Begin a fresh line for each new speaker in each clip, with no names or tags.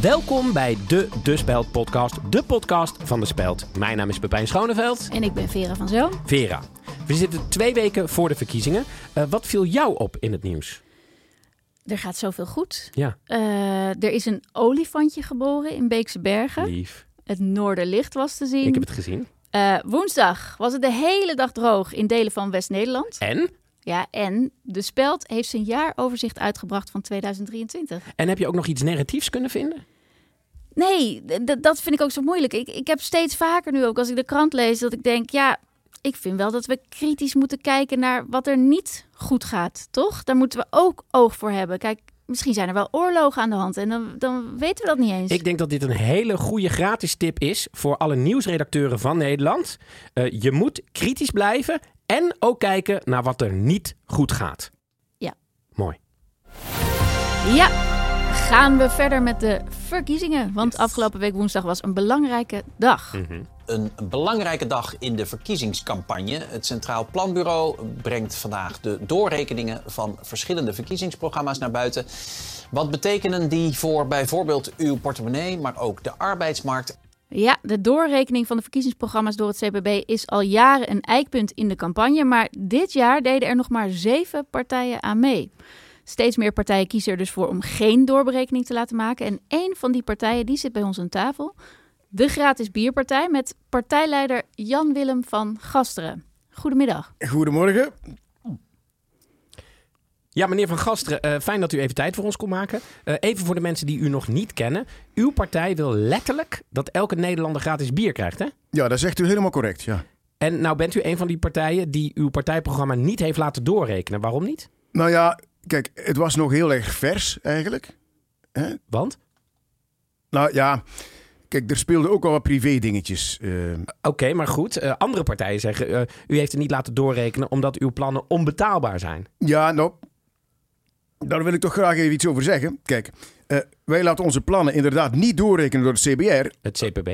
Welkom bij de De Speld podcast, de podcast van De Speld. Mijn naam is Pepijn Schoneveld.
En ik ben Vera van Zoom.
Vera, we zitten twee weken voor de verkiezingen. Eh, wat viel jou op in het nieuws?
Er gaat zoveel goed.
Ja,
Eh, er is een olifantje geboren in Beekse Bergen.
lief.
Het Noorderlicht was te zien.
Ik heb het gezien.
Eh, woensdag was het de hele dag droog in delen van West-Nederland.
En?
Ja, en De Speld heeft zijn jaaroverzicht uitgebracht van 2023.
En heb je ook nog iets negatiefs kunnen vinden?
Nee, d- d- dat vind ik ook zo moeilijk. Ik, ik heb steeds vaker nu ook als ik de krant lees dat ik denk, ja, ik vind wel dat we kritisch moeten kijken naar wat er niet goed gaat, toch? Daar moeten we ook oog voor hebben. Kijk, misschien zijn er wel oorlogen aan de hand en dan, dan weten we dat niet eens.
Ik denk dat dit een hele goede gratis tip is voor alle nieuwsredacteuren van Nederland. Eh, je moet kritisch blijven en ook kijken naar wat er niet goed gaat.
Ja.
Mooi.
Ja, gaan we verder met de verkiezingen, want afgelopen week woensdag was een belangrijke dag.
Een belangrijke dag in de verkiezingscampagne. Het Centraal Planbureau brengt vandaag de doorrekeningen van verschillende verkiezingsprogramma's naar buiten. Wat betekenen die voor bijvoorbeeld uw portemonnee, maar ook de arbeidsmarkt?
Ja, de doorrekening van de verkiezingsprogramma's door het CPB is al jaren een eikpunt in de campagne. Maar dit jaar deden er nog maar zeven partijen aan mee. Steeds meer partijen kiezen er dus voor om geen doorberekening te laten maken. En één van die partijen die zit bij ons aan tafel. De Gratis Bierpartij met partijleider Jan-Willem van Gasteren. Goedemiddag.
Goedemorgen.
Ja, meneer Van Gasteren, eh, fijn dat u even tijd voor ons kon maken. Eh, even voor de mensen die u nog niet kennen. Uw partij wil letterlijk dat elke Nederlander gratis bier krijgt, hè?
Ja, dat zegt u helemaal correct. Ja.
En nou bent u een van die partijen die uw partijprogramma niet heeft laten doorrekenen. Waarom niet?
Nou ja, kijk, het was nog heel erg vers eigenlijk.
Want?
Nou ja, kijk, er speelden ook al wat privé dingetjes. eh,
Oké, maar goed. eh, andere partijen zeggen, eh, u heeft het niet laten doorrekenen omdat uw plannen onbetaalbaar zijn.
ja, nou, daar wil ik toch graag even iets over zeggen. Kijk, eh, wij laten onze plannen inderdaad niet doorrekenen door het CBR.
Het CPB?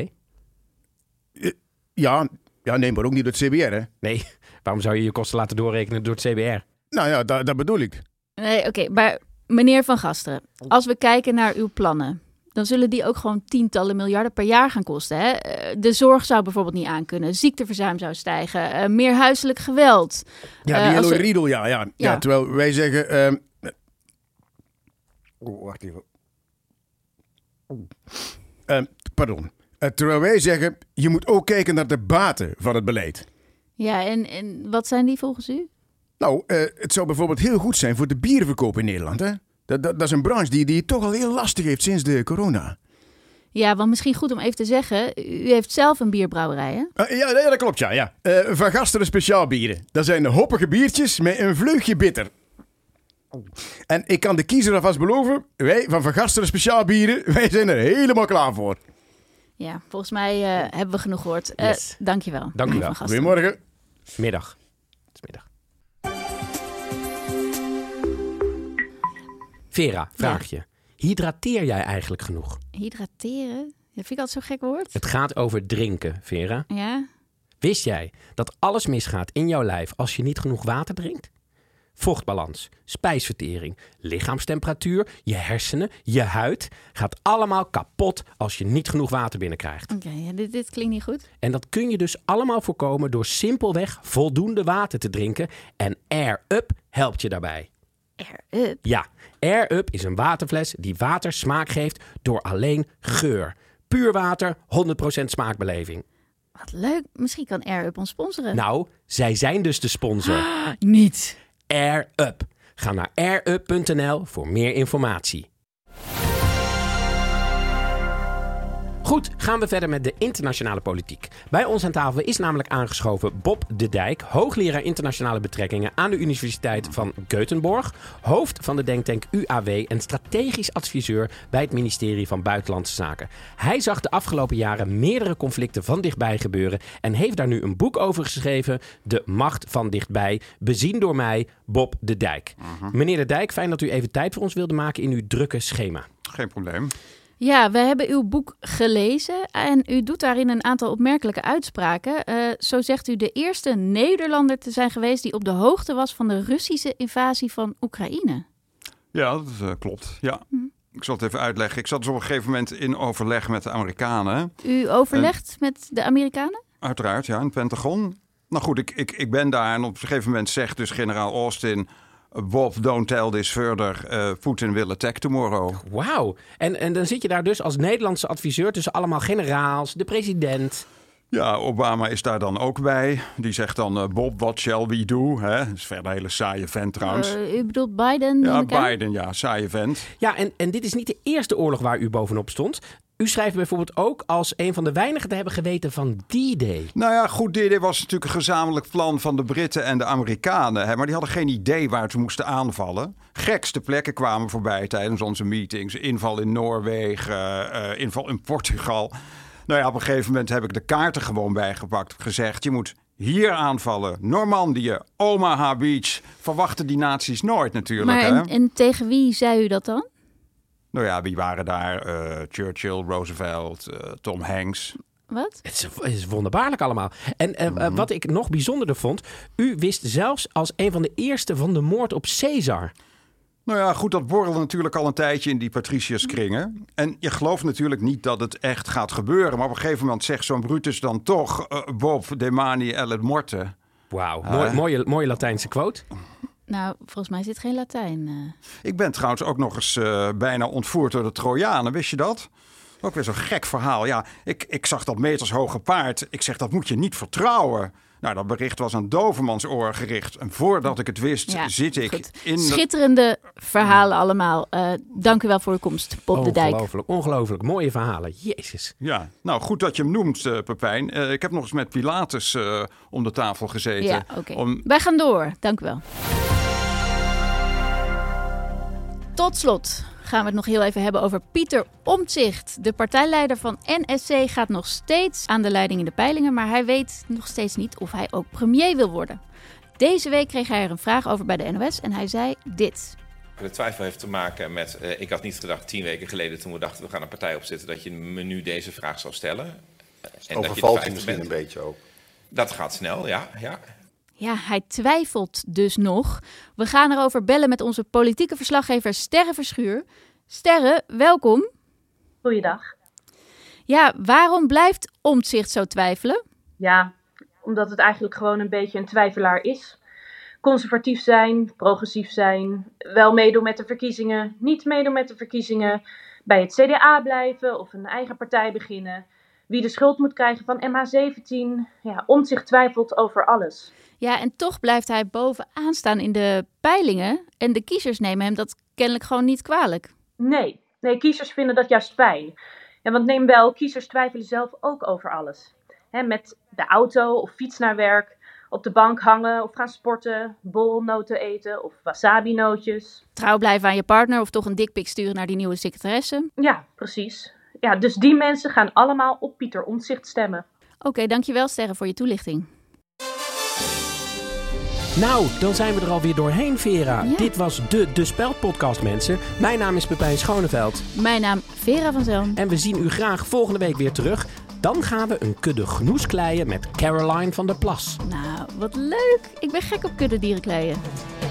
Ja, ja nee, maar ook niet door het CBR, hè.
Nee, waarom zou je je kosten laten doorrekenen door het CBR?
Nou ja, da dat bedoel ik.
Nee, oké, maar meneer Van Gasteren, als we kijken naar uw plannen, dan zullen die ook gewoon tientallen miljarden per jaar gaan kosten. Hè? Eh, De zorg zou bijvoorbeeld niet aankunnen, ziekteverzuim zou stijgen, eh, meer huiselijk geweld.
Ja,
Eh,
die
als
Eloy
we-
Riedel, ja, ja, ja.
Ja.
Terwijl wij zeggen... ehm, Oh, wacht even. Oh. Ehm, pardon. Eh, terwijl wij zeggen, je moet ook kijken naar de baten van het beleid.
Ja, en, en wat zijn die volgens u?
Nou, eh, het zou bijvoorbeeld heel goed zijn voor de bierverkoop in Nederland. Hè? Dat, dat, dat is een branche die, die het toch al heel lastig heeft sinds de corona.
Ja, want misschien goed om even te zeggen, u heeft zelf een bierbrouwerij, hè?
Eh, ja, ja, dat klopt, ja. ja. Eh, van Gasteren speciaal bieren. Dat zijn hoppige biertjes met een vleugje bitter. En ik kan de kiezer alvast beloven, wij van Van Gasteren speciaal bieren, wij zijn er helemaal klaar voor.
Ja, volgens mij eh, hebben we genoeg gehoord. Eh
Yes.
Dankjewel.
Dank u
meneer
wel.
Van Gasteren.
Goedemorgen.
Middag. Het is middag. Vera, vraag je. Hydrateer jij eigenlijk genoeg?
Hydrateren, dat vind ik altijd zo'n gek woord.
Het gaat over drinken, Vera.
Ja,
Wist jij dat alles misgaat in jouw lijf als je niet genoeg water drinkt? Vochtbalans, spijsvertering, lichaamstemperatuur, je hersenen, je huid gaat allemaal kapot als je niet genoeg water binnenkrijgt.
oké, ja, dit, dit klinkt niet goed.
En dat kun je dus allemaal voorkomen door simpelweg voldoende water te drinken en Air Up helpt je daarbij.
Air up.
Ja, Air Up is een waterfles die water smaak geeft door alleen geur. Puur water, 100% smaakbeleving.
Wat leuk. Misschien kan Air Up ons sponsoren.
Nou, zij zijn dus de sponsor.
Nou,
Niet.
Air Up. Ga naar airup.nl voor meer informatie. Goed, gaan we verder met de internationale politiek. Bij ons aan tafel is namelijk aangeschoven Bob de Dijk, hoogleraar internationale betrekkingen aan de Universiteit van Göteborg, hoofd van de denktank UAW en strategisch adviseur bij het ministerie van Buitenlandse Zaken. Hij zag de afgelopen jaren meerdere conflicten van dichtbij gebeuren en heeft daar nu een boek over geschreven, De Macht van Dichtbij, bezien door mij, Bob de Dijk. Meneer de Dijk, fijn dat u even tijd voor ons wilde maken in uw drukke schema.
Geen probleem.
Ja, we hebben uw boek gelezen en u doet daarin een aantal opmerkelijke uitspraken. Eh, zo zegt u de eerste Nederlander te zijn geweest die op de hoogte was van de Russische invasie van Oekraïne.
Ja, dat eh, klopt. Ja. Ik zal het even uitleggen. Ik zat dus op een gegeven moment in overleg met de Amerikanen.
U overlegt
Eh,
met de Amerikanen?
Uiteraard, ja, in het Pentagon. Nou goed, ik, ik, ik ben daar en op een gegeven moment zegt dus generaal Austin... Bob, don't tell this further. Eh Poetin will attack tomorrow.
Wauw. En, en dan zit je daar dus als Nederlandse adviseur tussen allemaal generaals, de president.
Ja, Obama is daar dan ook bij. Die zegt dan, eh, Bob, what shall we do? Hè? Dat is verder een hele saaie vent trouwens.
Eh, u bedoelt Biden? neem
ja,
ik aan?
Biden, ja, saaie vent.
Ja, en, en dit is niet de eerste oorlog waar u bovenop stond. U schrijft bijvoorbeeld ook als een van de weinigen te hebben geweten van D-Day.
Nou ja, goed, dit dit was natuurlijk een gezamenlijk plan van de Britten en de Amerikanen. Hè, maar die hadden geen idee waar ze moesten aanvallen. Gekste plekken kwamen voorbij tijdens onze meetings. Inval in Noorwegen, eh, eh, inval in Portugal. Nou ja, op een gegeven moment heb ik de kaarten gewoon bijgepakt. Gezegd, je moet hier aanvallen. Normandië, Omaha Beach. Verwachten die naties nooit natuurlijk.
Maar
hè?
en, en tegen wie zei u dat dan?
Nou ja, wie waren daar? Eh, Churchill, Roosevelt, eh, Tom Hanks.
Wat?
Het is, het is wonderbaarlijk allemaal. En eh, eh,
Mhm.
wat ik nog bijzonderder vond, u wist zelfs als een van de eerste van de moord op Caesar.
Nou ja, goed, dat borrelde natuurlijk al een tijdje in die patriciërskringen. En je gelooft natuurlijk niet dat het echt gaat gebeuren. Maar op een gegeven moment zegt zo'n Brutus dan toch... eh, Bob, Demani, el et morte.
Wauw,
Ah.
mooi, mooie, mooie Latijnse quote.
Nou, volgens mij zit geen Latijn. eh.
Ik ben trouwens ook nog eens eh, bijna ontvoerd door de Trojanen, wist je dat? Ook weer zo'n gek verhaal. Ja, ik, ik zag dat metershoge paard. Ik zeg, dat moet je niet vertrouwen. Nou, dat bericht was aan Dovermans oor gericht. En voordat ik het wist,
Ja,
zit ik
goed.
in... de-
Schitterende verhalen allemaal. Eh, dank u wel voor uw komst, Bob
Oh,
de Dijk.
Ongelooflijk, ongelooflijk. Mooie verhalen. Jezus.
Ja, nou goed dat je hem noemt, eh, Pepijn. Eh, ik heb nog eens met Pilatus eh, om de tafel gezeten.
Ja, oké.
Om-
Wij gaan door. Dank u wel. Tot slot gaan we het nog heel even hebben over Pieter Omtzigt. De partijleider van NSC gaat nog steeds aan de leiding in de peilingen, maar hij weet nog steeds niet of hij ook premier wil worden. Deze week kreeg hij er een vraag over bij de NOS en hij zei dit.
De twijfel heeft te maken met, eh, ik had niet gedacht tien weken geleden toen we dachten we gaan een partij opzetten, dat je me nu deze vraag zou stellen. Eh, En dat je de
Overvalt je
vijfde
misschien
bent.
een beetje ook.
Dat gaat snel, ja. ja.
Ja, hij twijfelt dus nog. We gaan erover bellen met onze politieke verslaggever Sterre Verschuur. Sterre, welkom.
Goeiedag.
Ja, waarom blijft Omtzigt zo twijfelen?
Ja, omdat het eigenlijk gewoon een beetje een twijfelaar is. Conservatief zijn, progressief zijn, wel meedoen met de verkiezingen, niet meedoen met de verkiezingen, bij het CDA blijven of een eigen partij beginnen, wie de schuld moet krijgen van MH17. Ja, om zich twijfelt over alles.
Ja, en toch blijft hij bovenaan staan in de peilingen. En de kiezers nemen hem dat kennelijk gewoon niet kwalijk.
Nee, nee, kiezers vinden dat juist fijn. Ja, want neem wel, kiezers twijfelen zelf ook over alles. Hè, met de auto of fiets naar werk, op de bank hangen of gaan sporten, bolnoten eten of wasabi-nootjes.
Trouw blijven aan je partner of toch een dikpik sturen naar die nieuwe secretaresse.
Ja, precies. Ja, dus die mensen gaan allemaal op Pieter Omtzigt stemmen.
Oké, dankjewel Sterren voor je toelichting.
Nou, dan zijn we er alweer doorheen, Vera.
Ja.
Dit was de De Speld podcast, mensen. Mijn naam is Pepijn Schoneveld.
Mijn naam Vera van Zelm.
En we zien u graag volgende week weer terug. Dan gaan we een kudde genoes kleien met Caroline van der Plas.
Nou, wat leuk. Ik ben gek op kudde dierenkleien.